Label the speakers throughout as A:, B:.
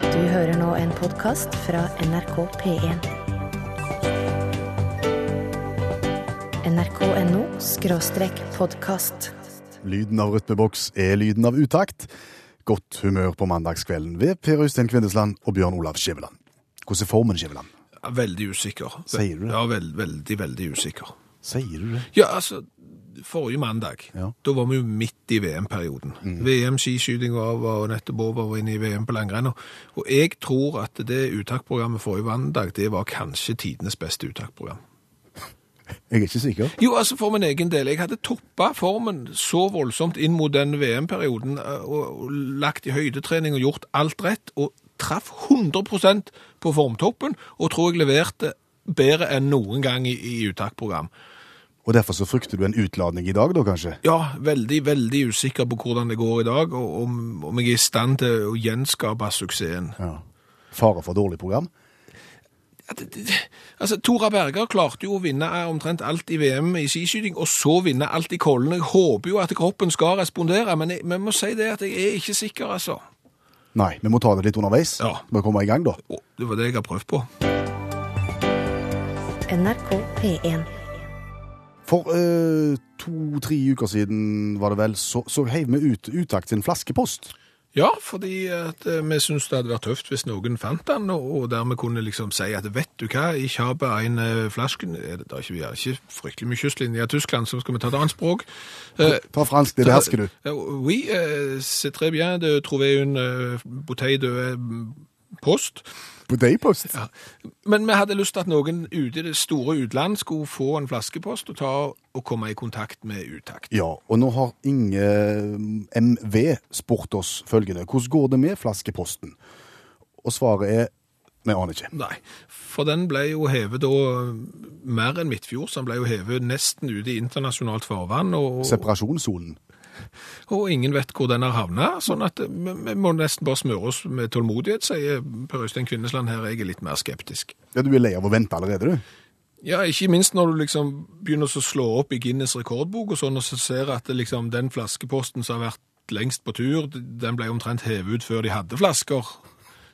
A: Du hører nå en podkast fra NRK P1. NRK.no skråstrek podkast.
B: Lyden av rytmeboks er lyden av utakt. Godt humør på mandagskvelden ved Per Øystein Kvindesland og Bjørn Olav Skjæveland. Hvordan er formen, Skjæveland?
C: Ja, Veldig usikker.
B: Sier du det?
C: Ja, vel- veldig, veldig usikker.
B: Sier du det?
C: Ja, altså, forrige mandag,
B: Ja. Mhm.
C: da var vi jo midt i VM-perioden. VM-skiskytinga var nettopp over og inn i VM på langrenn. og- Og jeg tror at det uttaksprogrammet forrige mandag, det var kanskje tidenes beste uttaksprogram.
B: Jeg er ikke sikker.
C: Jo, altså for min egen del. Jeg hadde toppa formen så voldsomt inn mot den VM-perioden eh, og, og lagt i høydetrening og gjort alt rett, og traff 100 på formtoppen og tror jeg leverte bedre enn noen gang i, i uttaksprogram.
B: Og derfor så frykter du en utladning i dag, da kanskje?
C: Ja, veldig, veldig usikker på hvordan det går i dag, og om, om jeg er i stand til å gjenskape suksessen.
B: Ja. Fare for dårlig program?
C: Ja, det- det- det- Altså, Tora Berger klarte jo å vinne eh, omtrent alt i VM i skiskyting, og så vinne alt i kollen. Jeg håper jo at kroppen skal respondere, men jeg, men jeg må si det at jeg er ikke sikker, altså.
B: Nei, vi må ta det litt underveis.
C: Ja.
B: Bare komme i gang, da.
C: Å, det var det jeg har prøvd på.
A: NRK P1.
B: For to-tre uker siden, var det vel, så, så heiv vi ut utakt sin flaskepost.
C: Ja, fordi at eh, vi syntes det hadde vært tøft hvis noen fant den, og, og dermed kunne liksom si at vet du hva, i Kjaba en eh, flasken er det, det er ikke, Vi har ikke fryktelig mye kystlinje i Tyskland, så skal vi ta et annet språk. Eh,
B: Ta fransk, det behersker du.
C: Eh, Oui, eh, c'est très bien de trouver une eh, bouteille de eh, post.
B: På daypost?
C: Ja. Men vi hadde lyst til at noen ute i det store utland skulle få en flaskepost og ta og komme i kontakt med utakt.
B: Ja, og nå har Inge eh, MV spurt oss følgende. Hvordan går det med flaskeposten? Og svaret er Nei, jeg aner ikke.
C: Nei, for den ble jo hevet da eh, mer enn Midtfjords. Den ble jo hevet nesten ute i internasjonalt farvann, og,
B: Separasjonssonen.
C: og ingen vet hvor den har havnet. Sånn at eh, vi, vi må nesten bare smøre oss med tålmodighet, sier Per Øystein Kvinnesland her. Jeg er litt mer skeptisk.
B: Ja, Du er lei av å vente allerede, du?
C: Ja, ikke minst når du liksom begynner å slå opp i Guinness rekordbok og sånn, og så ser at det liksom den flaskeposten som har vært lengst på tur, den ble omtrent hevet ut før de hadde flasker.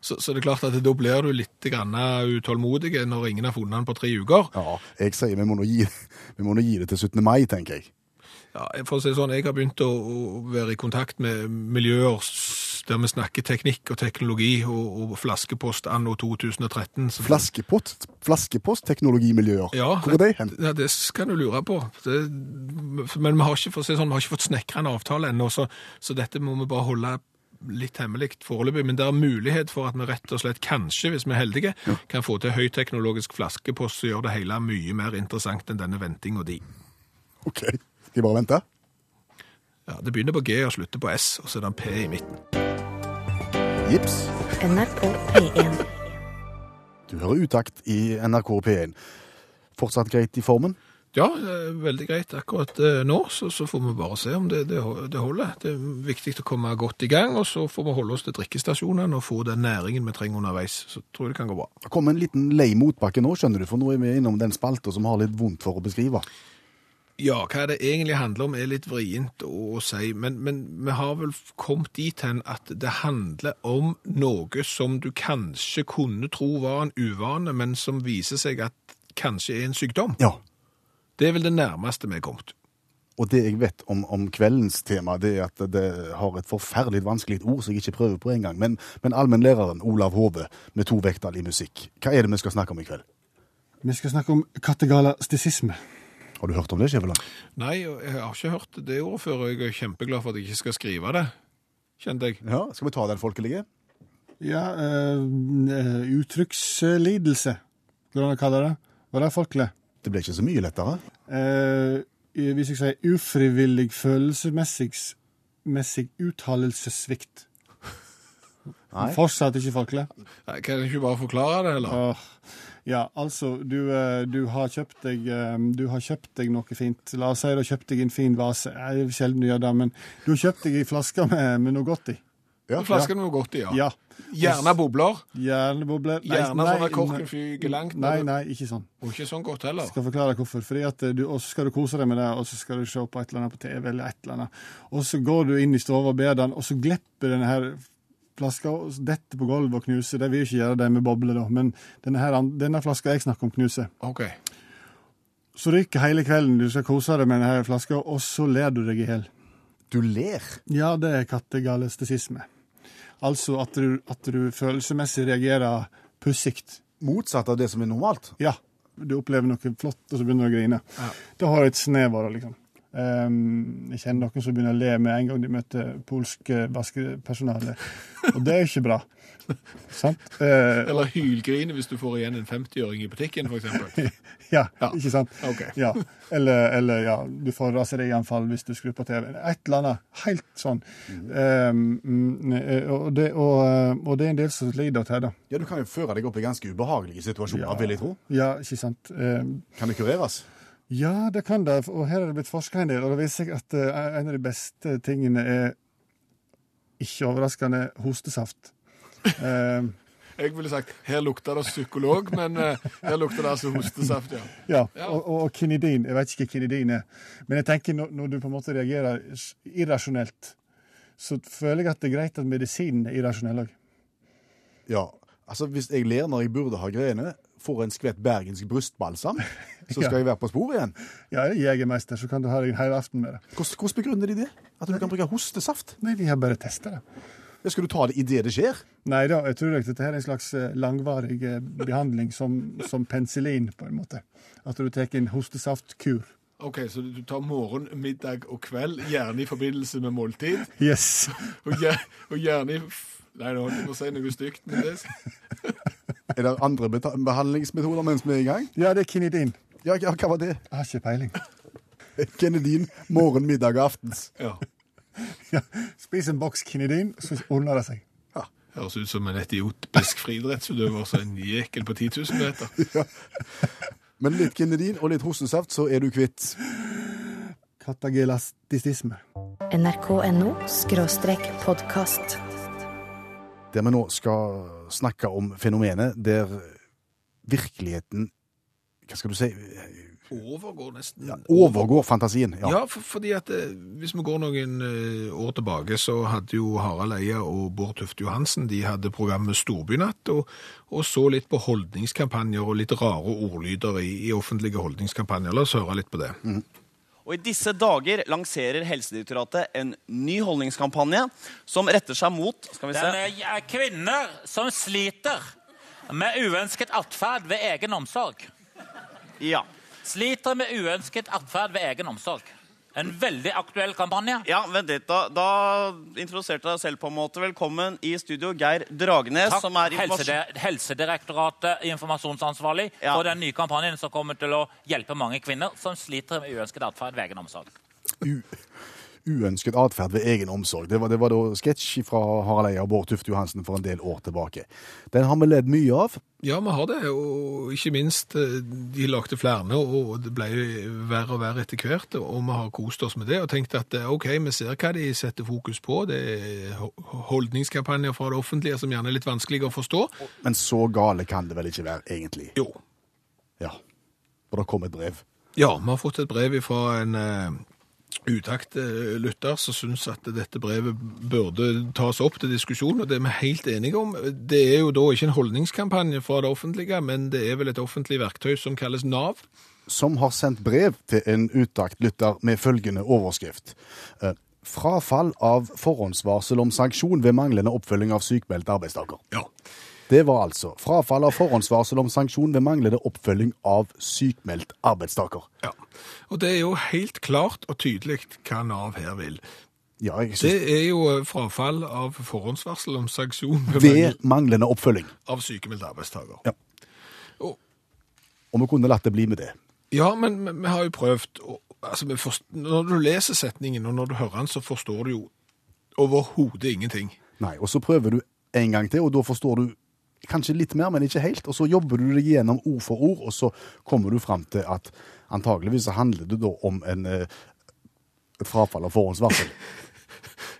C: Så, så det er klart at da blir du litt grann utålmodig når ingen har funnet den på tre uker.
B: Ja, jeg sier vi må nå gi, vi må nå gi det til 17. mai, tenker jeg.
C: Ja, for å si det sånn, jeg har begynt å, å være i kontakt med miljøer s- der vi snakker teknikk og teknologi og, og flaskepost anno 2013. så-
B: Flaskepost, flaskepostteknologimiljøer.
C: Ja,
B: Hvor er de hen?
C: Ja, det skal du lure på. Det, men vi har ikke, for å si det sånn, vi har ikke fått snekra en avtale ennå, så, så dette må vi bare holde litt hemmelig foreløpig. Men det er mulighet for at vi rett og slett, kanskje, hvis vi er heldige, kan få til høyteknologisk flaskepost som gjør det hele mye mer interessant enn denne ventinga di.
B: Ok, Skal jeg bare vente?
C: Ja, det begynner på G og slutter på S, og så er det en P i midten.
B: Jips.
A: NRK P1.
B: Du hører utakt i NRK P1. Fortsatt greit i formen?
C: Ja, eh, veldig greit akkurat eh, nå, så, så får vi bare se om det, det, ho- det holder. Det er viktig å komme godt i gang, og så får vi holde oss til drikkestasjonene og få den næringen vi trenger underveis. Så tror jeg det kan gå bra.
B: Det kom en liten lei motbakke nå, skjønner du, for nå er vi innom den spalta som har litt vondt for å beskrive.
C: Ja, hva det egentlig handler om er litt vrient å, å si, men, men vi har vel kommet dit hen at det handler om noe som du kanskje kunne tro var en uvane, men som viser seg at kanskje er en sykdom.
B: Ja,
C: Det er vel det nærmeste vi er kommet.
B: Og det jeg vet om, om kveldens tema, det er at det har et forferdelig vanskelig ord som jeg ikke prøver på engang. Men, men allmennlæreren Olav Hove med to vekttall i musikk, hva er det vi skal snakke om i kveld?
D: Vi skal snakke om kategalastisisme.
B: Har du hørt om det, Skjæveland?
C: Nei, og jeg har ikke hørt det ordet før, og jeg er kjempeglad for at jeg ikke skal skrive det, kjente jeg.
B: Ja. Skal vi ta den folkelige?
D: Ja, eh, eh, uttrykkslidelse, går det an å kalle det. Var det folkelig?
B: Det ble ikke så mye lettere.
D: Eh, hvis jeg sier ufrivillig følelsesmessig messig uttalelsessvikt.
B: Nei.
D: Fortsatt ikke folkelig.
C: Nei, Kan jeg ikke bare forklare det, eller?
D: Åh. Ja, altså, du, eh, du, har kjøpt deg, eh, du har kjøpt deg noe fint. La oss si du har kjøpt deg en fin vase. Nei, Det er sjelden du gjør det, men du har kjøpt deg en flaske med, med noe godt i.
B: Ja,
C: Flasken var godt i, ja.
D: Ja.
C: Gjerne bobler,
D: Hjernebobler. Nei,
C: gjerne
D: nei,
C: sånn at
D: nei.
C: korken fyker langt,
D: Nei,
C: når du-
D: nei, ikke sånn.
C: og ikke sånn godt heller.
D: skal forklare hvorfor. Fordi at eh, du, og så skal du kose deg med det, og så skal du se på et eller annet på TV, eller et eller annet. Og så går du inn i stua og ber den, og så glipper denne her flaska detter på gulvet og knuser. Det vil ikke gjøre det med bobler, da. Men denne, her, an- denne flaska jeg snakker om, knuser.
C: OK.
D: Så ryker hele kvelden. Du skal kose deg med denne her flaska, og så ler du deg i hjel.
B: Du ler.
D: Ja, det er kattegalestisisme. Altså at du, at du følelsesmessig reagerer pussig.
B: Motsatt av det som er normalt.
D: Ja, du opplever noe flott, og så begynner du å grine. Da har du et snev av det, liksom. Ehm, jeg kjenner noen som begynner å le med en gang de møter polsk eh, vaskepersonale. Og det er ikke bra. Sant? Eh,
C: Eller hylgrine hvis du får igjen en 50-øring i butikken, f.eks.
D: ja,
C: Ja.
D: ikke sant?
C: Ok.
D: Ja. Eller, eller ja, du får raserianfall hvis du skrur på TV-en. Et eller annet. Helt sånn. Ehm, mm, eh, og, det, og, eh, og det er en del som lider av det. da.
B: Ja, Du kan jo føre deg opp i ganske ubehagelige situasjoner,
D: Ja.
B: vil jeg tro.
D: Ja, ikke sant? Ehm,
B: Kan det kureres?
D: Ja, det kan det. Og her er det blitt forska en del, og det viser seg at eh, en av de beste tingene er ikke overraskende hostesaft. Eh,
C: Jeg ville sagt her lukter det psykolog, men eh, her lukter det altså hostesaft, ja.
D: ja,
C: Ja.
D: og, og kinidin. Jeg vet ikke hva kinidin er. Men jeg tenker når, når du på en måte reagerer s- irrasjonelt, så føler jeg at det er greit at medisinen er irrasjonell òg.
B: Ja. Altså, Hvis jeg ler når jeg burde ha grene, får en skvett bergensk brystbalsam, så skal
D: Ja.
B: jeg være på sporet igjen.
D: Ja, er du jegermester, så kan du ha deg en hel aften med det.
B: Hvordan, hvordan begrunner de det? At du kan bruke hostesaft?
D: Nei, vi har bare testa det.
B: Ja, skal du ta det idet det skjer?
D: Nei da, jeg tror nok dette her er en slags eh, langvarig eh, behandling, som, som penicillin, på en måte. At du tar en hostesaftkur.
C: OK, så du tar morgen, middag og kveld, gjerne i forbindelse med måltid.
D: Yes.
C: Og, gjer, og gjerne i f- Nei, nå holdt jeg på å si noe stygt, men det
B: Er det andre beta- behandlingsmetoder mens vi er i gang?
D: Ja, det er kinidin.
B: Ja, ja hva var det?
D: Jeg har ikke peiling.
B: Kennedin, morgen, middag og aftens.
C: ja.
D: Ja. Spis en boks kinidin, så ordner det seg.
C: Høres ut som en etiopisk friidrettsutøver som en jekel på 10 000 meter.
B: Men litt kennedin og litt hostesaft, så er du kvitt.
D: Katagelastisisme.
A: NRK.no skråstrek podkast.
B: Der vi nå skal snakke om fenomenet der virkeligheten Hva skal du si?
C: Overgår nesten
B: Overgår fantasien. Ja.
C: Ja, for, fordi at eh, hvis vi går noen eh, år tilbake, så hadde jo Harald Eia og Bård Tufte Johansen de hadde programmet Storbynatt, og, og så litt på holdningskampanjer og litt rare ordlyder i, i offentlige holdningskampanjer. La oss høre litt på det.
E: Og I disse dager lanserer Helsedirektoratet en ny holdningskampanje som retter seg mot skal vi
F: Den
E: se,
F: er er kvinner som sliter med uønsket atferd ved egen omsorg.
E: ja.
F: Sliter med uønsket atferd ved egen omsorg. En veldig aktuell kampanje.
E: ja, vent litt. Da, da introduserte jeg deg selv på en måte. Velkommen i studio, Geir Dragnes,
F: Takk,
E: som er informasjon...
F: Helsede- Helsedirektoratet informasjonsansvarlig
E: Ja.
F: for den nye kampanjen som kommer til å hjelpe mange kvinner som sliter med uønsket atferd ved egen omsorg.
B: U uønsket atferd ved egen omsorg. Det var, det var da sketsj fra Harald Eia og Bård Tufte Johansen for en del år tilbake. Den har vi ledd mye av.
C: Ja, vi har det, og ikke minst eh, de lagde flere, og det ble jo verre og verre etter hvert, og vi har kost oss med det, og tenkt at eh, ok, vi ser hva de setter fokus på, det er ho- holdningskampanjer fra det offentlige som gjerne er litt vanskeligere å forstå.
B: Men så gale kan det vel ikke være, egentlig.
C: Jo,
B: Ja. Og det kom et brev.
C: Ja, vi har fått et brev fra en uh, utakt eh, lytter som syns at dette brevet burde tas opp til diskusjon, og det er vi helt enige om. Det er jo da ikke en holdningskampanje fra det offentlige, men det er vel et offentlig verktøy som kalles Nav.
B: som har sendt brev til en utakt lytter med følgende overskrift. Eh, Frafall av forhåndsvarsel om sanksjon ved manglende oppfølging av sykmeldt arbeidstaker.
C: Ja.
B: Det var altså frafall av forhåndsvarsel om sanksjon ved manglende oppfølging av sykmeldt arbeidstaker.
C: ja. Og det er jo helt klart og tydelig hva Nav her vil.
B: Ja, jeg
C: Det
B: synes
C: er jo eh, frafall av forhåndsvarsel om sanksjon ved
B: Ved
C: mangel
B: manglende oppfølging.
C: av sykemeldt arbeidstaker.
B: Ja.
C: Og,
B: Og vi kunne latt det bli med det.
C: Ja, men vi- vi har jo prøvd. Og, altså, vi forst- når du leser setningen, og når du hører den, så forstår du jo overhodet ingenting.
B: Nei, og så prøver du en gang til, og da forstår du kanskje litt mer, men ikke helt. Og så jobber du deg gjennom ord for ord, og så kommer du fram til at antageligvis så handler det da om en, eh, et frafall av forhåndsvarsel.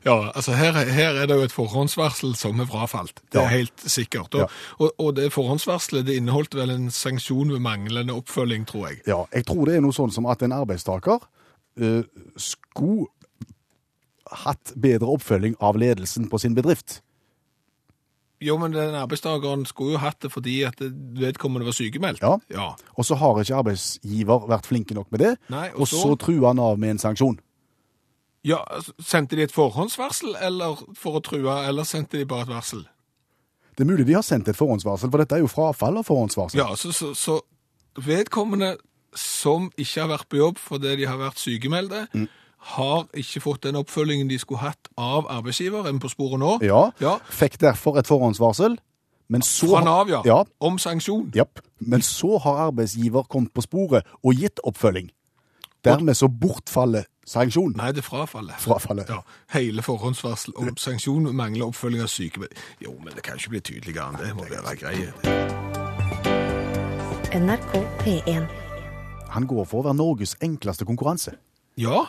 C: Ja, altså her, her er det jo et forhåndsvarsel som er frafalt. Det er
B: Ja.
C: helt sikkert. Og,
B: Ja.
C: og, og det forhåndsvarselet det inneholdt vel en sanksjon ved manglende oppfølging, tror jeg.
B: Ja, jeg tror det er noe sånn som at en arbeidstaker eh, skulle hatt bedre oppfølging av ledelsen på sin bedrift.
C: Jo, men den arbeidstakeren skulle jo hatt det fordi at vedkommende var sykemeldt.
B: Ja.
C: ja.
B: Og så har ikke arbeidsgiver vært flinke nok med det,
C: Nei, og
B: og så
C: så
B: truer han av med en sanksjon.
C: Ja, altså, Sendte de et forhåndsvarsel eller for å true, eller sendte de bare et varsel?
B: Det er mulig de har sendt et forhåndsvarsel, for dette er jo frafall av forhåndsvarsel.
C: Ja, så, så, så vedkommende som ikke har vært på jobb fordi de har vært sykemeldte,
B: Mm.
C: har ikke fått den oppfølgingen de skulle hatt av arbeidsgiver. Er vi på sporet nå?
B: Ja.
C: Ja.
B: Fikk derfor et forhåndsvarsel, men så
C: Fra Nav, ja.
B: ja.
C: Om sanksjon.
B: Japp. Men så har arbeidsgiver kommet på sporet og gitt oppfølging. Dermed så bortfaller sanksjon.
C: Nei, det er frafallet.
B: Frafallet.
C: Ja, Hele forhåndsvarsel om sanksjon mangler oppfølging av sykemeldte. Jo, men det kan ikke bli tydeligere enn det. må være greie.
A: NRK P1.
B: Han går for å være Norges enkleste konkurranse.
C: Ja,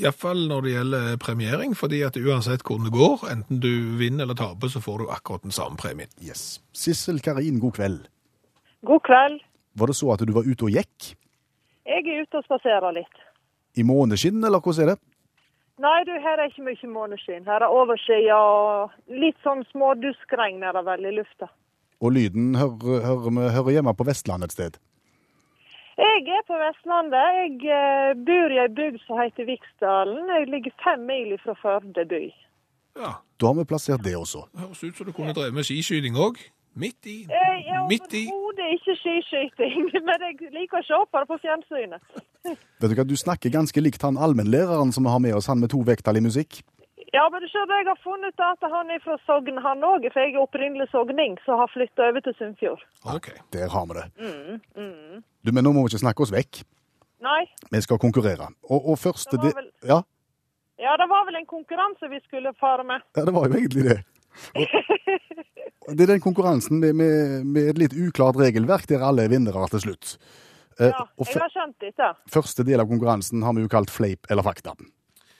C: iallfall når det gjelder premiering, fordi at uansett hvordan det går, enten du vinner eller taper, så får du akkurat den samme premien.
B: Yes. Sissel Karin, god kveld.
G: God kveld.
B: Var det så at du var ute og gikk
G: Jeg er ute og spaserer litt.
B: i måneskinn, eller hvordan er det?
G: Nei, du, her er ikke mye måneskinn. Her er overskya og litt sånn små duskregn er det vel i lufta.
B: Og lyden hører, hører, vi- hører hjemme på Vestlandet et sted.
G: Jeg er på Vestlandet. Jeg eh, bor i ei bygd som heter Viksdalen. Jeg ligger fem mil fra Førde by.
C: Ja,
B: Da har vi plassert det også.
C: Det høres ut som du kunne drevet med skiskyting òg. Midt i.
G: Eh, Jeg er
C: Midt i.
G: overhodet ikke skiskyting, men jeg liker å se på det på fjernsynet.
B: Vet Du hva, du snakker ganske likt han allmennlæreren som vi har med oss, han med to vekttall i musikk.
G: Ja, men du ser, jeg har funnet ut at han er fra Sogn, han òg. For jeg er opprinnelig sogning, som har flytta over til Sunnfjord.
C: Ok.
B: Der har vi det.
G: Mm,
B: Du, Men nå må vi ikke snakke oss vekk.
G: Nei,
B: Vi skal konkurrere. Og, og første
G: Det
B: det,
G: var vel-
B: ja,
G: ja, det var vel en konkurranse vi skulle fare med.
B: ja, det var jo egentlig det. Og, og det er den konkurransen med, med, med et litt uklart regelverk der alle er vinnere til slutt. Eh,
G: Ja,
B: og
G: jeg
B: f
G: har skjønt dette.
B: første del av konkurransen har vi jo kalt fleip eller fakta.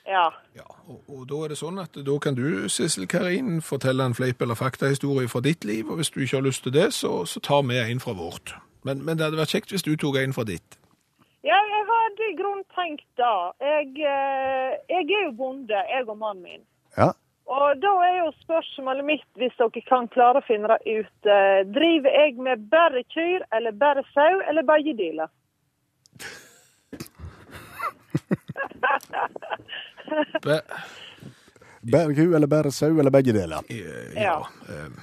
G: Ja.
C: Ja, og, og da er det sånn at da kan du, Sissel Karin, fortelle en fleip- eller faktahistorie fra ditt liv, og hvis du ikke har lyst til det, så, så tar vi en fra vårt. Men, men det hadde vært kjekt hvis du tok en fra ditt.
G: ja, jeg hadde i grunnen tenkt da. Jeg, eh, jeg er jo bonde, jeg og mannen min.
B: Ja,
G: Og da er jo spørsmålet mitt, hvis dere kan klare å finne det ut, eh, driver jeg med bare kyr, eller bare sau, eller begge deler?
C: Be,
B: Bare ku eller bare sau eller begge deler.
C: eh, ja.
G: Ja.
C: eh.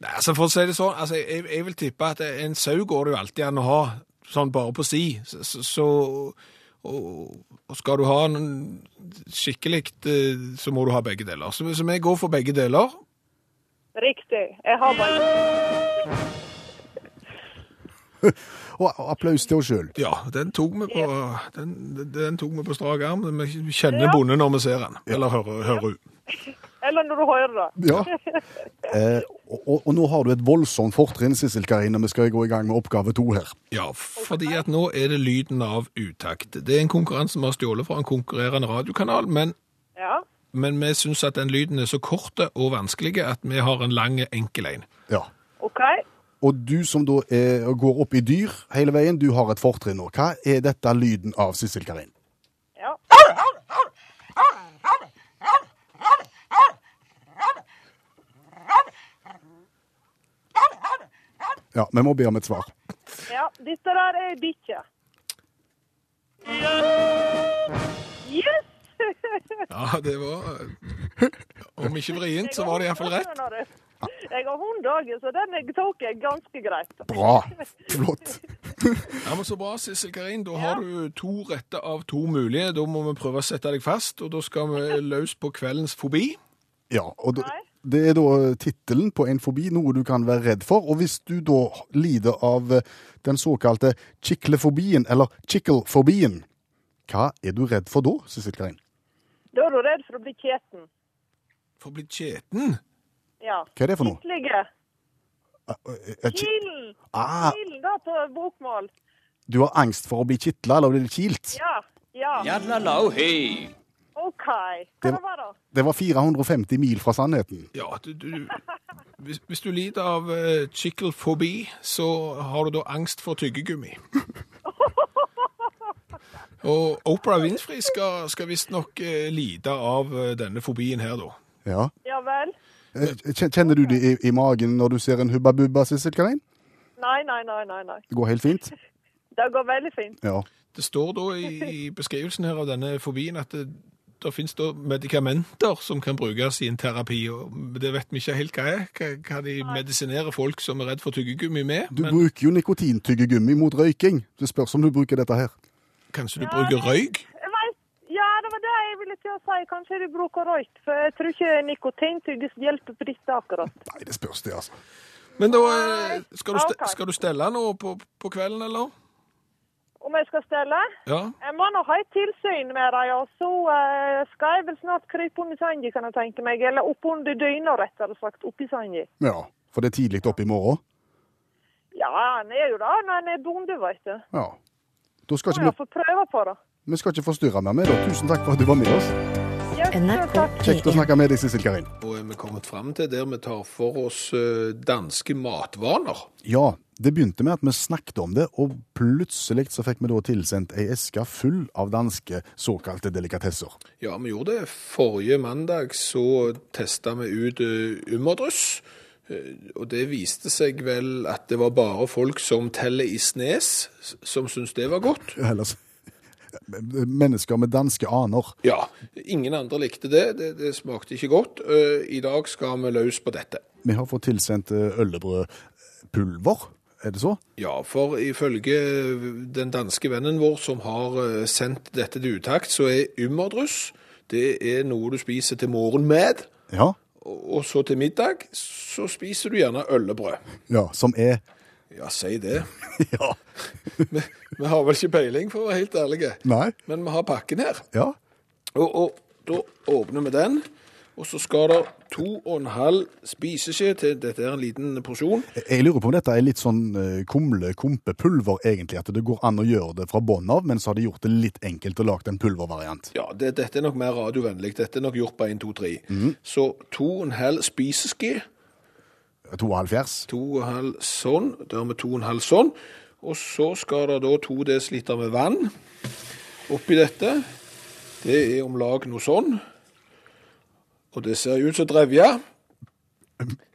C: Nei, altså for å si det sånn, altså jeg, jeg vil tippe at en sau går det jo alltid an å ha, sånn bare på si. Så, så- så og, og skal du ha en skikkelig, eh, så må du ha begge deler. Så, så vi går for begge deler.
G: Riktig. Jeg har bare
B: Og og applaus til oss sjøl.
C: Ja, den tok vi på, den, den tok vi på strak arm. Vi kjenner bonden når vi ser han, eller hører, hører hun.
G: Eller når du hører det.
B: Ja. Eh, og, og, og nå har du et voldsomt fortrinn, Sissel Karin, når vi skal gå i gang med oppgave to her.
C: Ja, fordi at nå er det lyden av utakt. Det er en konkurranse vi har stjålet fra en konkurrerende radiokanal, men,
G: Ja.
C: men vi syns at den lyden er så kort og vanskelig at vi har en lang, enkel en.
B: Ja.
G: OK.
B: Og du som da er, går opp i dyr hele veien, du har et fortrinn nå. Hva er dette lyden av, Sissel Karin?
G: Ja.
B: Ja, vi må be om et svar.
G: ja. Dette der er ei bikkje. Yes!
C: Ja, det var eh, Om ikke vrient, så var det iallfall rett.
G: Jeg har hund òg, så den tok jeg ganske greit.
B: Bra. Flott.
C: Ja, men Så bra, Sissel Karin. Da har du to rette av to mulige. Da må vi prøve å sette deg fast, og da skal vi løs på kveldens fobi.
B: Ja, og da,
G: Nei.
B: det er da eh, tittelen på en fobi, noe du kan være redd for. Og hvis du da lider av eh, den såkalte chiklefobien, eller chikkelfobien, hva er du redd for da, Sissel Karin?
G: Da er du redd for å bli kjeten.
C: For å bli kjeten.
G: Ja.
B: Hva er det for noe?
G: Kitlige.
B: Eh, eh, ki-
G: Kilen.
B: Ah,
G: Kilen, da, på bokmål.
B: du har angst for å bli kitla eller bli kilt?
G: Ja. Ja. OK. Hva
B: Det-
G: det var det?
B: Det var 450 mil fra sannheten.
C: Ja, du, du, hvis, hvis du lider av eh, chickelfobi, så har du da angst for tyggegummi. Og Oprah Winfrey skal, skal visstnok eh, lide av eh, denne fobien her, da.
B: Ja.
G: Ja vel.
B: Eh, kjen- Kjenner du det i, i magen når du ser en Hubba Bubba, Sissel Karin?
G: Nei, nei, nei, nei, nei.
B: Det går helt fint?
G: Det går veldig fint.
B: Ja.
C: Det står da i, i beskrivelsen her av denne fobien at det, det finnes da medikamenter som kan brukes i en terapi, og det vet vi ikke helt hva er. Hva, hva de medisinerer folk som er redd for tyggegummi med,
B: Du
C: men
B: bruker jo nikotintyggegummi mot røyking. Det spørs om du bruker dette her.
C: kanskje du bruker røyk?
G: Jeg vet, ja, det var det jeg ville til å si. Kanskje du bruker røyk, for jeg tror ikke nikotintyggis hjelper på dette akkurat.
B: Nei, det spørs det, altså.
C: Men da eh, skal du, ste-
G: Ok.
C: skal du stelle nå på, på kvelden, eller?
G: Om jeg skal stelle?
C: Ja.
G: Jeg må nå ha et tilsyn med dem, og så eh, skal jeg vel snart krype under sanda, kan jeg tenke meg. Eller oppunder dyna, rettere sagt. Oppi sanda.
B: Ja, for det er tidlig oppe i morgen.
G: Ja, han er jo det når han er bonde, vet du.
B: Ja. Da skal
G: Må jeg
B: ikke
G: få prøve på det.
B: vi, vi skal ikke forstyrre mer med da. Tusen takk for at du var med oss.
G: Ja,
A: NRK
G: takk.
B: Kjekt å
A: P1.
B: snakke med deg, Sissel Karin.
C: Nå er vi kommet frem til der vi tar for oss eh, danske matvaner.
B: Ja, det begynte med at vi snakket om det, og plutselig så fikk vi da tilsendt ei eske full av danske såkalte delikatesser.
C: Ja, vi gjorde det. Forrige mandag så testa vi ut eh, ummerdryss. Eh, Og det viste seg vel at det var bare folk som teller i snes, s- som syntes det var godt.
B: Ellers mennesker med danske aner.
C: Ja, ingen andre likte det. Det, det smakte ikke godt. Eh, I dag skal vi løs på dette.
B: Vi har fått tilsendt eh, øllebrødpulver, er det så?
C: Ja, for ifølge den danske vennen vår som har eh, sendt dette til utakt, så er ummerdryss det er noe du spiser til morgenmed,
B: Ja.
C: og og så til middag så spiser du gjerne øllebrød.
B: ja som er
C: Ja, si det.
B: Ja.
C: Vi, vi har vel ikke peiling, for å være helt ærlige.
B: Nei.
C: Men vi har pakken her.
B: Ja.
C: Og, og da åpner vi den. Og så skal det to og en halv spiseskje til Dette er en liten porsjon.
B: Jeg lurer på om dette er litt sånn eh, kumle-kompepulver, egentlig. At det går an å gjøre det fra bånn av, men så har de gjort det litt enkelt og lagd en pulvervariant.
C: Ja, det, dette er nok mer radiovennlig. Dette er nok gjort på 1, 2, 3. Så to og en halv spiseskje.
B: 72.
C: To og en halv sånn. Dermed to og en halv sånn. Og så skal det da to desiliter med vann oppi dette. Det er om lag noe sånn. Og det ser jo ut som drevja.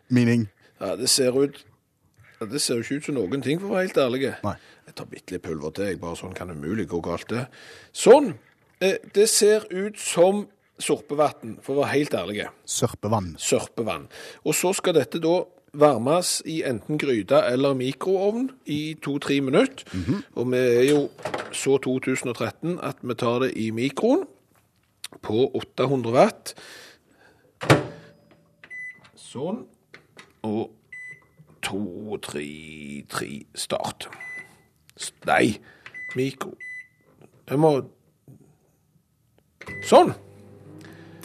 B: Meaning
C: Ja, det ser ut ja, Det ser jo ikke ut som noen ting, for å være helt ærlig.
B: Nei.
C: Jeg tar bitte litt pulver til, jeg. Bare sånn kan umulig gå galt, det. Sånn. Eh, det ser ut som sorpevann, for å være helt ærlig.
B: sørpevann.
C: Sørpevann. Og så skal dette da varmes i enten gryte eller mikroovn i to-tre minutter. Og vi er jo så 2013 at vi tar det i mikroen på 800 watt. Sånn. Og to, tre, tre, start. S- Nei, mikro Jeg må Sånn.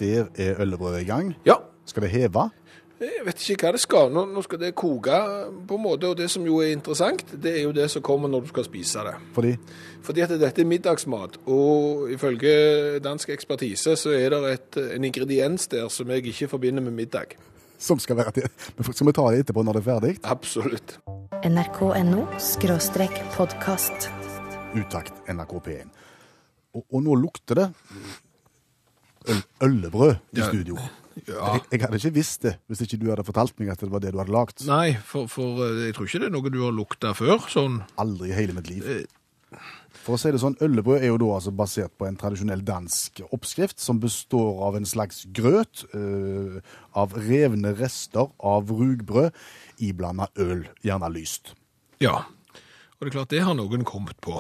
B: Der er øllebrødet i gang.
C: Ja.
B: Skal det heve?
C: Jeg vet ikke hva det skal. Nå, nå skal det koke på en måte, og det som jo er interessant, det er jo det som kommer når du skal spise det.
B: Fordi
C: Fordi at dette er middagsmat, og ifølge dansk ekspertise så er det et, en ingrediens der som jeg ikke forbinder med middag.
B: Som skal være til Men Skal vi ta det etterpå når det er ferdig?
C: Absolutt.
A: NRK.no skråstrek podkast.
B: Utakt NRK P1. Og, og nå lukter det øl, øllebrød i
C: Ja.
B: studio.
C: Ja.
B: Jeg, jeg hadde ikke visst det hvis ikke du hadde fortalt meg at det var det du hadde lagd.
C: Nei, for, for eh, jeg tror ikke det er noe du har lukta før. sånn. eh,
B: Aldri i hele mitt liv. For å si det sånn, Øllebrød er jo da altså basert på en tradisjonell dansk oppskrift som består av en slags grøt eh, av revne rester av rugbrød iblanda øl, gjerne lyst.
C: Ja. Og det er klart, det har noen kommet på.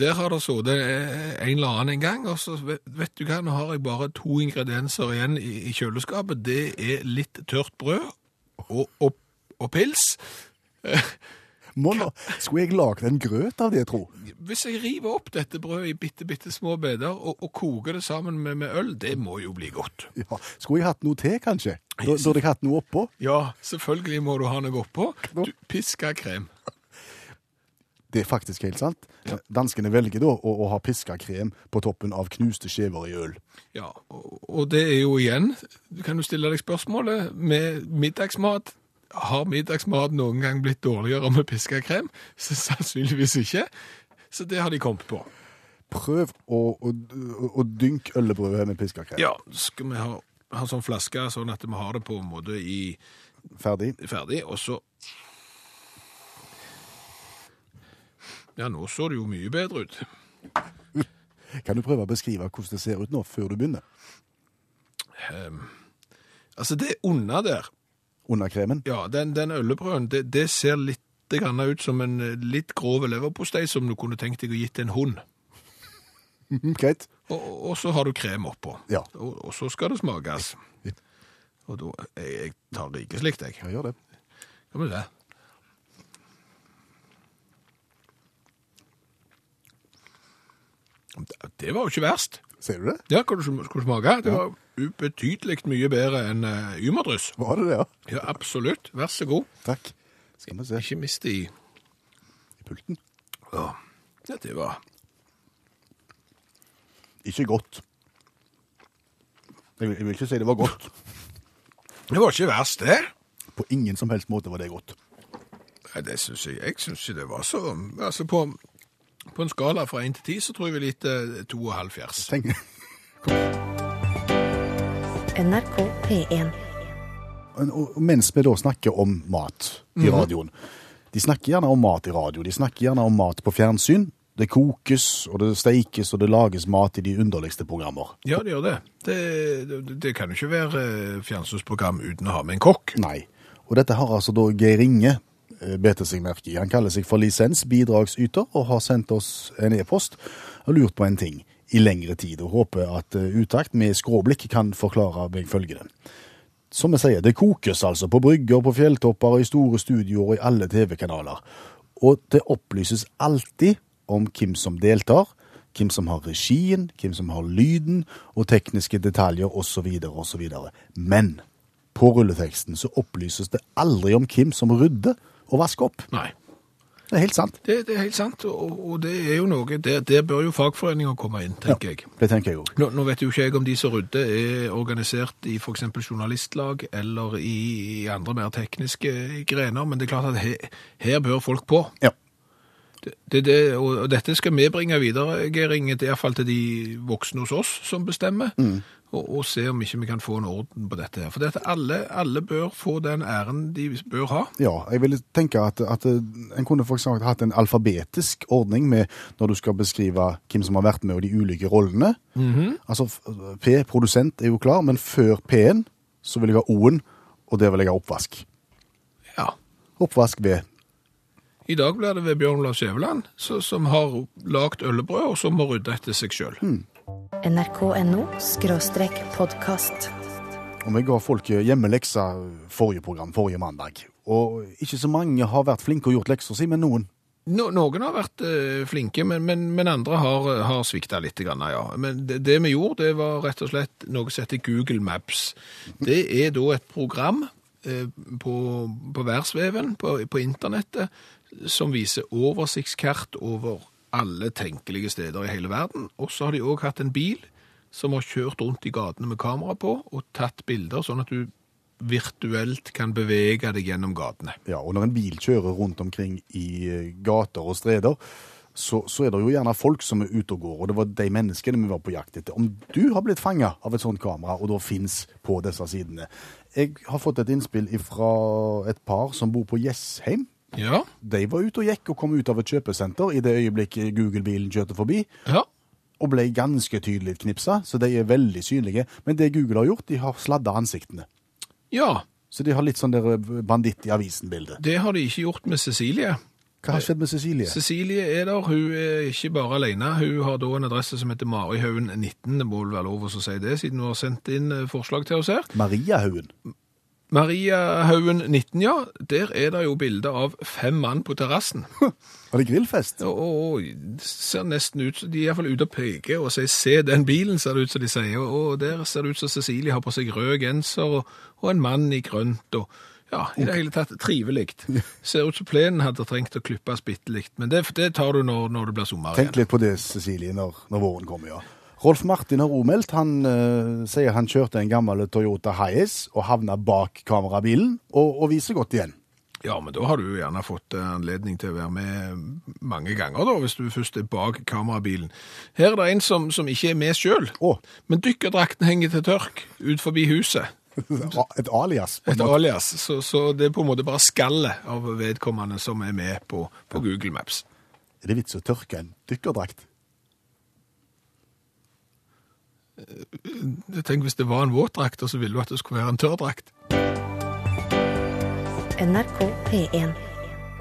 C: Der har det sittet en eller annen en gang, og så vet vet du hva, nå har jeg bare to ingredienser igjen i, i kjøleskapet. Det er litt tørt brød og, og, og pils.
B: Må nå, skulle jeg lagd en grøt av det, tro?
C: Hvis jeg river opp dette brødet i bitte, bitte små beder og, og koker det sammen med, med øl, det må jo bli godt.
B: Ja. Skulle jeg hatt noe til, kanskje? Da, da hadde jeg hatt noe oppå.
C: Ja, selvfølgelig må du ha noe oppå. Du pisker krem.
B: Det er faktisk helt sant. Danskene velger da å, å ha piska krem på toppen av knuste skjever i øl.
C: Ja, og, og det er jo igjen, du kan jo stille deg spørsmålet, med middagsmat, har middagsmat noen gang blitt dårligere med piska krem? Så sannsynligvis ikke. Så det har de kommet på.
B: Prøv å, å, å, å dynke øllebrødet med piska krem.
C: Ja, skal vi ha ha sånn flaske sånn at vi har det på en måte i
B: Ferdig.
C: ferdig, og så Ja, nå så det jo mye bedre ut.
B: Kan du prøve å beskrive hvordan det ser ut nå, før du begynner?
C: Altså, det under der,
B: Under kremen?
C: ja, den, den øllebrøden, det, det ser litt grann ut som en eh, litt grov leverpostei som du kunne tenkt deg å gitt til en hund.
B: Mhm, Greit.
C: Og, og så har du krem oppå.
B: Ja.
C: Og, og så skal det smakes. Og da Jeg, jeg tar rikeslikt, jeg.
B: Ja, gjør det.
C: Skal vi se. Det- Det var jo ikke verst.
B: Ser du det?
C: Ja, hva du sm- skulle smake. Det var ubetydelig mye bedre enn uh, ymerdryss.
B: Var det det, ja?
C: Ja, absolutt. Vær så god.
B: Takk. Skal vi se
C: Ikke mist i
B: i pulten.
C: Ja, Ja, det var
B: Ikke godt. Jeg vil, jeg vil ikke si det var godt.
C: Det var ikke verst, det.
B: På ingen som helst måte var det godt.
C: Nei, det synes jeg Jeg syns ikke det var så Altså, på, på en skala fra én til ti, så tror jeg vi litt eh, to og halv fjerds.
B: Tenk,
A: NRK P1.
B: og- og mens vi da snakker om mat i radioen De snakker gjerne om mat i radio, de snakker gjerne om mat på fjernsyn. Det kokes, og det steikes, og det lages mat i de underligste programmer.
C: Ja, det gjør det. Det, det, det kan jo ikke være eh, fjernsynsprogram uten å ha med en kokk.
B: Nei. Og dette har altså da Geir Inge eh, betet seg merke i. Han kaller seg for lisensbidragsyter og har sendt oss en e-post og lurt på en ting i lengre tid, og håper at eh, Utakt med skråblikk kan forklare meg følgende. Som jeg sier, det kokes altså på brygger, på fjelltopper, og i store studioer og i alle TV-kanaler. Og det opplyses alltid om hvem som deltar, hvem som har regien, hvem som har lyden og tekniske detaljer osv. osv. Men på rulleteksten så opplyses det aldri om hvem som rydder og vasker opp.
C: Nei.
B: Det er helt sant.
C: Det, det er helt sant, og, og det er jo noe Der, der bør jo fagforeninger komme inn, tenker jeg.
B: Det tenker jeg òg.
C: Nå, nå vet jo ikke jeg om de som rydder er organisert i f.eks. journalistlag eller i, i andre mer tekniske grener, men det er klart at he, her bør folk på.
B: Ja.
C: Det, det, det, og og dette skal vi bringe videre, Geir Inge, til- i hvert fall til de voksne hos oss som bestemmer, og, og se om ikke vi kan få en orden på dette her. For dette, alle, alle bør få den æren de bør ha.
B: Ja, jeg ville tenke at, at eh, en kunne for eksempel hatt en alfabetisk ordning med når du skal beskrive hvem som har vært med og de ulike rollene. Altså f- P, produsent, er jo klar, men før P-en så vil jeg ha O-en, og der vil jeg ha oppvask.
C: Ja.
B: Oppvask ved.
C: I dag blir det ved Bjørn Olav Skjæveland, så- som har lagt øllebrød, og som må rydde etter seg sjøl.
A: NRK.no skråstrek podkast.
B: Og vi ga folk hjemmelekser forrige program, forrige mandag. Og ikke så mange har vært flinke og gjort lekser si, men noen.
C: No, noen har vært eh, flinke, men, men, men andre har, har svikta litt. Grann, ja. Men det, det vi gjorde, det var rett og slett noe som heter Google Maps. Det er da et program eh, på, på værsveven på, på internettet som viser oversiktskart over alle tenkelige steder i hele verden. Og så har de òg hatt en bil som har kjørt rundt i gatene med kamera på og tatt bilder, sånn at du virtuelt kan bevege deg gjennom gatene.
B: Ja, og når en bil kjører rundt omkring i eh, gater og streder, så, så er det jo gjerne folk som er ute og går, og det var de menneskene vi var på jakt etter. Om du har blitt fanga av et sånt kamera, og da fins på disse sidene Jeg har fått et innspill fra et par som bor på Jessheim.
C: Ja,
B: De var ute og gikk og kom ut av et kjøpesenter i det øyeblikket Google-bilen kjørte forbi
C: ja.
B: og ble ganske tydelig knipsa, så de er veldig synlige. Men det Google har gjort, de har sladda ansiktene.
C: Ja,
B: Så de har litt sånn der banditt i avisen-bildet.
C: Det har de ikke gjort med Cecilie.
B: Hva har skjedd med Cecilie?
C: Cecilie er der, hun er ikke bare alene. Hun har da en adresse som heter Marihaugen 19. Det må vel være lov å si det, siden hun har sendt inn eh, forslag til oss her.
B: Maria Haugen.
C: Mariahaugen 19, ja. Der er det jo bilde av fem mann på terrassen.
B: Var det grillfest?
C: Og, og, og ser nesten ut som De er iallfall ute og peker og sier 'se den bilen', ser det ut som de sier. Og, og der ser det ut som Cecilie har på seg rød genser og, og en mann i grønt. og ja, I det hele tatt trivelig. Ser ut som plenen hadde trengt å klippes bitte litt. Men det, det tar du når, når det blir sommer igjen.
B: Tenk litt på det, Cecilie, når, når våren kommer, ja. Rolf Martin har ommeldt. Han eh, sier han kjørte en gammel Toyota Hiace og havna bak kamerabilen, og, og viser godt igjen.
C: Ja, men da har du jo gjerne fått eh, anledning til å være med mange ganger, da, hvis du først er bak kamerabilen. Her er det en som, som ikke er med sjøl, men dykkerdrakten henger til tørk ut forbi huset.
B: Et alias. på en
C: Et
B: måte.
C: alias. Så, så det er på en måte bare skallet av vedkommende som er med på, på Google Maps.
B: Er det vits å tørke en dykkerdrakt?
C: Tenk hvis det var en våtdrakt, og så ville du at det skulle være en tørrdrakt.
A: NRK P1.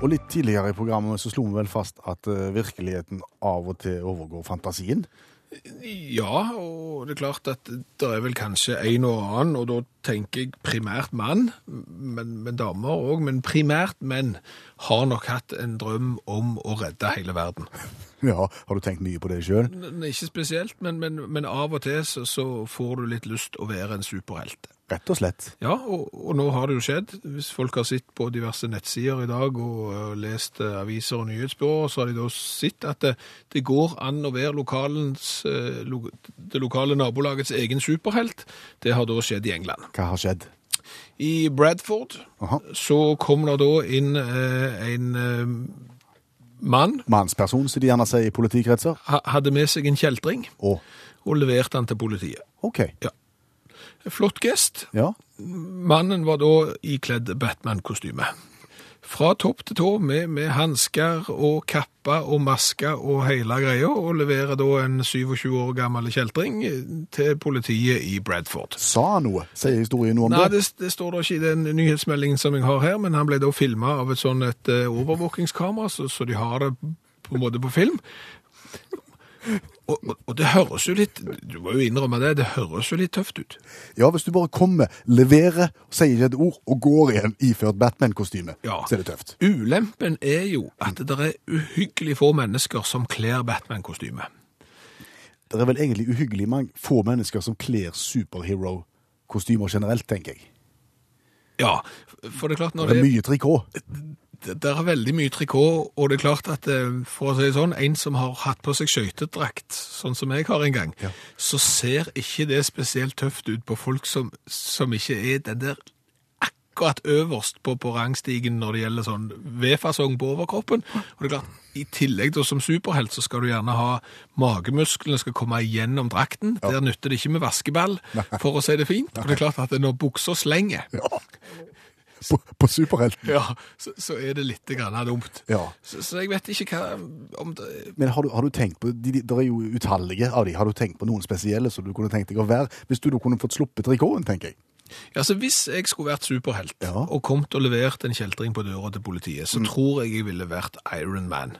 B: Og litt tidligere i programmet så slo vi vel fast at eh, virkeligheten av og til overgår fantasien.
C: Ja, og det er klart at det er vel kanskje en og annen, og da tenker jeg primært mann, men, men damer òg, men primært menn har nok hatt en drøm om å redde hele verden.
B: Ja, har du tenkt mye på det sjøl?
C: N- Ikke spesielt, men, men, men av og til så, så får du litt lyst å være en superhelt.
B: Rett og slett.
C: Ja, og, og nå har det jo skjedd. Hvis folk har sett på diverse nettsider i dag og eh, lest eh, aviser og nyhetsbyråer, så har de da sett at det, det går an å være lokalens, eh, lo, det lokale nabolagets egen superhelt. Det har da skjedd i England.
B: Hva har skjedd?
C: I Bradford
B: Aha.
C: så kom det da inn eh, en eh, mann,
B: Mannsperson, som de gjerne sier i politikretser.
C: ha, hadde med seg en kjeltring
B: Å,
C: og leverte han til politiet.
B: OK.
C: Flott gest,
B: Ja.
C: Mannen var da ikledd Batman-kostyme. Fra topp til tå med, med hansker og kappa og maske og hele greia, og leverer da en 27 år gammel kjeltring til politiet i Bradford.
B: Sa han noe? Sier historien noe om
C: Nei,
B: det?
C: det, det står da ikke i den nyhetsmeldingen som jeg har her, men han ble da filma av et sånn et eh, overvåkingskamera, så, så de har det på en måte på film. Og, og, og det høres jo litt Du må jo innrømme det, det høres jo litt tøft ut.
B: Ja, hvis du bare kommer, leverer, sier ikke et ord og går igjen iført Batman-kostyme,
C: Ja.
B: så er det tøft.
C: Ulempen er jo at det er uhyggelig få mennesker som kler Batman-kostyme.
B: Det er vel egentlig uhyggelig mange få mennesker som kler superhero-kostymer generelt, tenker jeg.
C: Ja, for det er klart når
B: Det
C: det
B: er mye trikot.
C: det der er veldig mye trikot, og det er klart at eh, for å si det sånn, en som har hatt på seg skøytedrakt, sånn som jeg har en gang, så ser ikke det spesielt tøft ut på folk som, som ikke er den der akkurat øverst på, på rangstigen når det gjelder sånn V-fasong på overkroppen. Og det er klart, i tillegg da som superhelt så skal du gjerne ha magemusklene skal komme igjennom drakten. Der nytter det ikke med vaskeball, for å si det fint. Og det er klart at når bukser slenger,
B: Ja. På, på superhelten.
C: ja, så, så er det litt grann dumt.
B: Ja.
C: Så, så jeg vet ikke hva om det,
B: Men har du, har du tenkt på, de, de, der er jo utallige av de, har du tenkt på noen spesielle som du kunne tenkt deg å være, hvis du da kunne fått sluppet trikoten, tenker jeg.
C: Altså, Hvis jeg skulle vært superhelt
B: Ja. Mm.
C: og kommet og levert en kjeltring på døra til politiet, så tror jeg jeg ville vært Iron Man.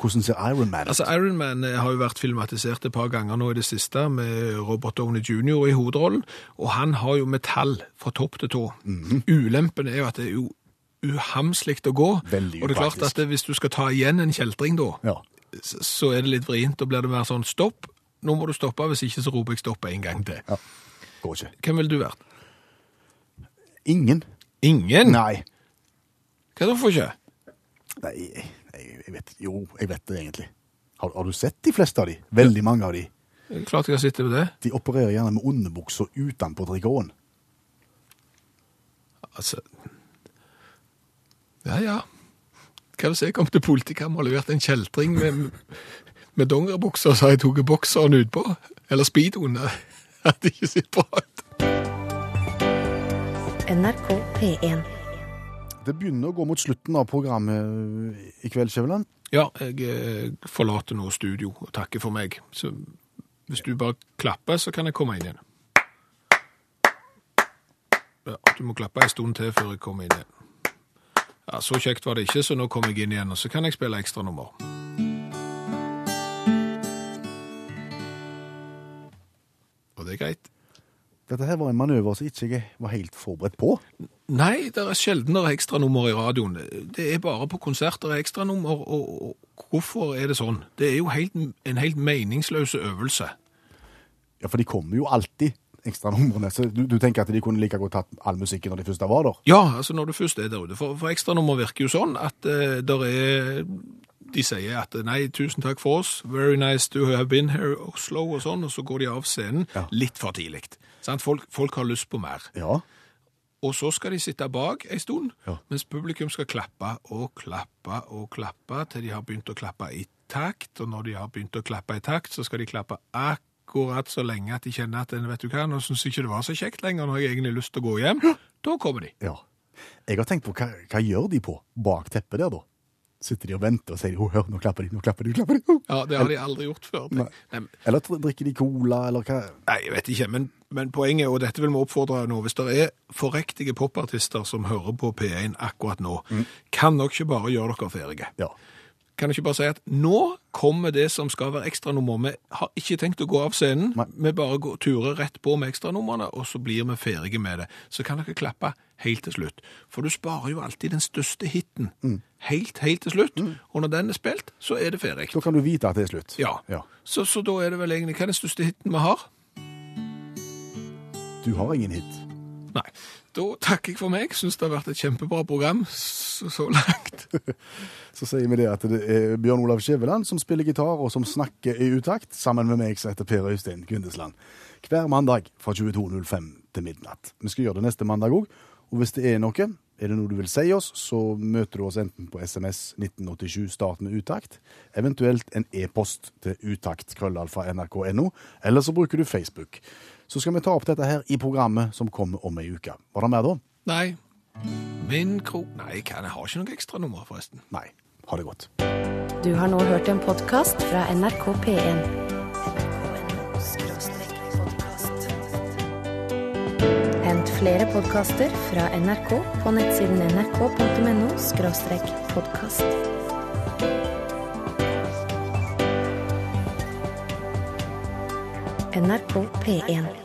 B: Hvordan ser Iron Man ut?
C: Altså, Iron Man eh, har jo vært filmatisert et par ganger nå i det siste, med Robert Downey Jr. i hovedrollen, og han har jo metall fra topp til tå.
B: Mhm.
C: Ulempen er jo at det er jo uhamslikt å gå.
B: Veldig
C: og det er klart
B: upraktisk.
C: at det, hvis du skal ta igjen en kjeltring da,
B: Ja.
C: så så er det litt vrient. Da blir det mer sånn stopp. Nå må du stoppe, hvis ikke så roper jeg stopp en gang til.
B: Går ikke.
C: Hvem ville du vært?
B: Ingen?
C: Ingen?
B: Nei.
C: Hva da for ikke?
B: Nei, jeg, jeg vet Jo, jeg vet det egentlig. Har, har du sett de fleste av de? Veldig mange av de.
C: Det er Klart jeg har sittet ved det.
B: De opererer gjerne med underbukser utenpå trikoten.
C: Altså Ja, ja. Hva hvis jeg kom til politikammer og leverte en kjeltring med, med dongeribukser, så har jeg tatt bokseren utpå? Eller speedoen? Det hadde ikke sett bra ut.
A: NRK P1.
B: Det begynner å gå mot slutten av programmet i kveld, Skjæveland.
C: Ja, jeg eh, forlater nå studio og takker for meg. Så hvis du bare klapper, så kan jeg komme inn igjen. Ja, du må klappe en stund til før jeg kommer inn igjen. Ja, Så kjekt var det ikke, så nå kommer jeg inn igjen, og så kan jeg spille ekstranummer. Og det er greit.
B: Dette her var en manøver som ikke jeg var helt forberedt på.
C: Nei, det er sjelden det er ekstranummer i radioen. Det er bare på konserter det er ekstranummer, og, og hvorfor er det sånn? Det er jo helt, en helt meningsløs øvelse.
B: Ja, for de kommer jo alltid, ekstranumrene. Så du, du tenker at de kunne like godt tatt all musikken når de først var der?
C: Ja, altså når du først er der ute. For, for ekstranummer virker jo sånn at eh, der er De sier at eh, nei, tusen takk for oss, very nice to have been here, Oslo, og sånn, og så går de av scenen litt for tidlig. Sant? Folk, folk har lyst på mer.
B: Ja.
C: Og så skal de sitte bak en stund,
B: Ja.
C: mens publikum skal klappe og klappe og klappe til de har begynt å klappe i takt. Og når de har begynt å klappe i takt, så skal de klappe akkurat så lenge at de kjenner at vet du hva, nå syns jeg ikke det var så kjekt lenger, nå har jeg egentlig lyst til å gå hjem. Da kommer de.
B: Ja. Jeg har tenkt på hva, hva gjør de på bak teppet der, da? Sitter de og venter og sier oh, hør, nå klapper de, nå klapper de, nå klapper de. oh».
C: Ja, Det har de aldri gjort før. tenk. Nei, men-
B: Eller tr- drikker de cola, eller hva?
C: Nei, jeg vet ikke, men, men poenget, og dette vil vi oppfordre nå, hvis det er forrektige popartister som hører på P1 akkurat nå, kan dere ikke bare gjøre dere ferdige?
B: Ja.
C: Kan dere ikke bare si at nå kommer det som skal være ekstranummer. Vi har ikke tenkt å gå av scenen,
B: Nei.
C: vi bare går, turer rett på med ekstranumrene, og så blir vi ferdige med det. Så kan dere klappe helt til slutt. For du sparer jo alltid den største hitten helt, helt til slutt. Og når den er spilt, Mm. så er det ferdig.
B: Da kan du vite at det er slutt.
C: Ja. Så, så da er det vel egentlig hva er den største hitten vi har?
B: Du har ingen hit.
C: Nei. Da takker jeg for meg. Syns det har vært et kjempebra program så, så langt.
B: Så sier vi det at det er Bjørn Olav Skjæveland som spiller gitar og som snakker i utakt, sammen med meg som heter Per Øystein Kvindesland. Hver mandag fra 22.05 til midnatt. Vi skal gjøre det neste mandag òg. Og hvis det er noe, er det noe du vil si oss, så møter du oss enten på SMS 1987 start med utakt, eventuelt en e-post til utakt.krøllalfa.nrk.no, eller så bruker du Facebook. Så skal vi ta opp dette her i programmet som kommer om ei uke. Var det mer da?
C: Nei. Min krok Nei, hva, jeg har ikke noe ekstranummer, forresten.
B: Nei. Ha det godt.
A: Du har nå hørt en podkast fra NRK P1. NRK.no-podkast. Hent flere podkaster fra NRK på nettsiden nrk.no-podkast. NRK P1.